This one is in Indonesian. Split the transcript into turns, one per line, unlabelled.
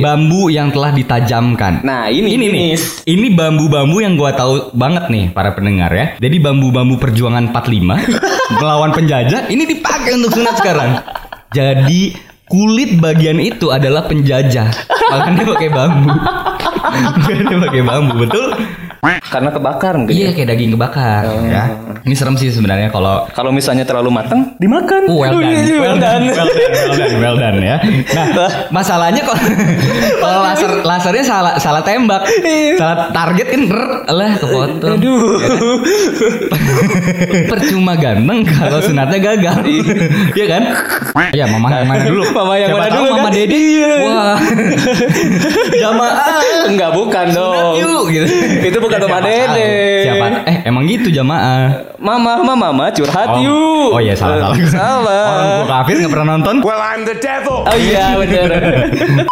Bambu yang telah ditajamkan.
Nah, ini
ini nih. Ini bambu-bambu yang gua tahu banget nih para pendengar ya. Jadi bambu-bambu perjuangan 45 melawan penjajah ini dipakai untuk sunat sekarang. Jadi kulit bagian itu adalah penjajah. Makanya pakai bambu. Makanya pakai bambu, betul?
Karena kebakar mungkin.
Iya
ya.
kayak daging kebakar ya. Ini serem sih sebenarnya kalau
Kalau misalnya terlalu matang, dimakan.
Oh, well done.
Iya, well done.
well done, well done, well done, ya. Nah, masalahnya kok kalau laser lasernya salah salah tembak, salah target kan rer, lah kepotong.
Iya. Aduh.
Percuma ganteng kalau sunatnya gagal. Iya kan? Iya, mama yang mana dulu?
Mama yang
Siapa
mana
tahu
dulu
Mama
kan?
Dede.
Iya.
Wah. Jamaah.
Enggak bukan dong.
Yuk gitu.
Itu bukan
Siapa
Mama
tahu.
Dede.
Siapa? Eh, emang gitu jamaah.
Mama, mama, mama curhat
Oh,
yuk.
Oh iya salah salah.
Salah.
Orang gua kafir nggak pernah nonton.
Well, I'm the devil.
Oh iya benar.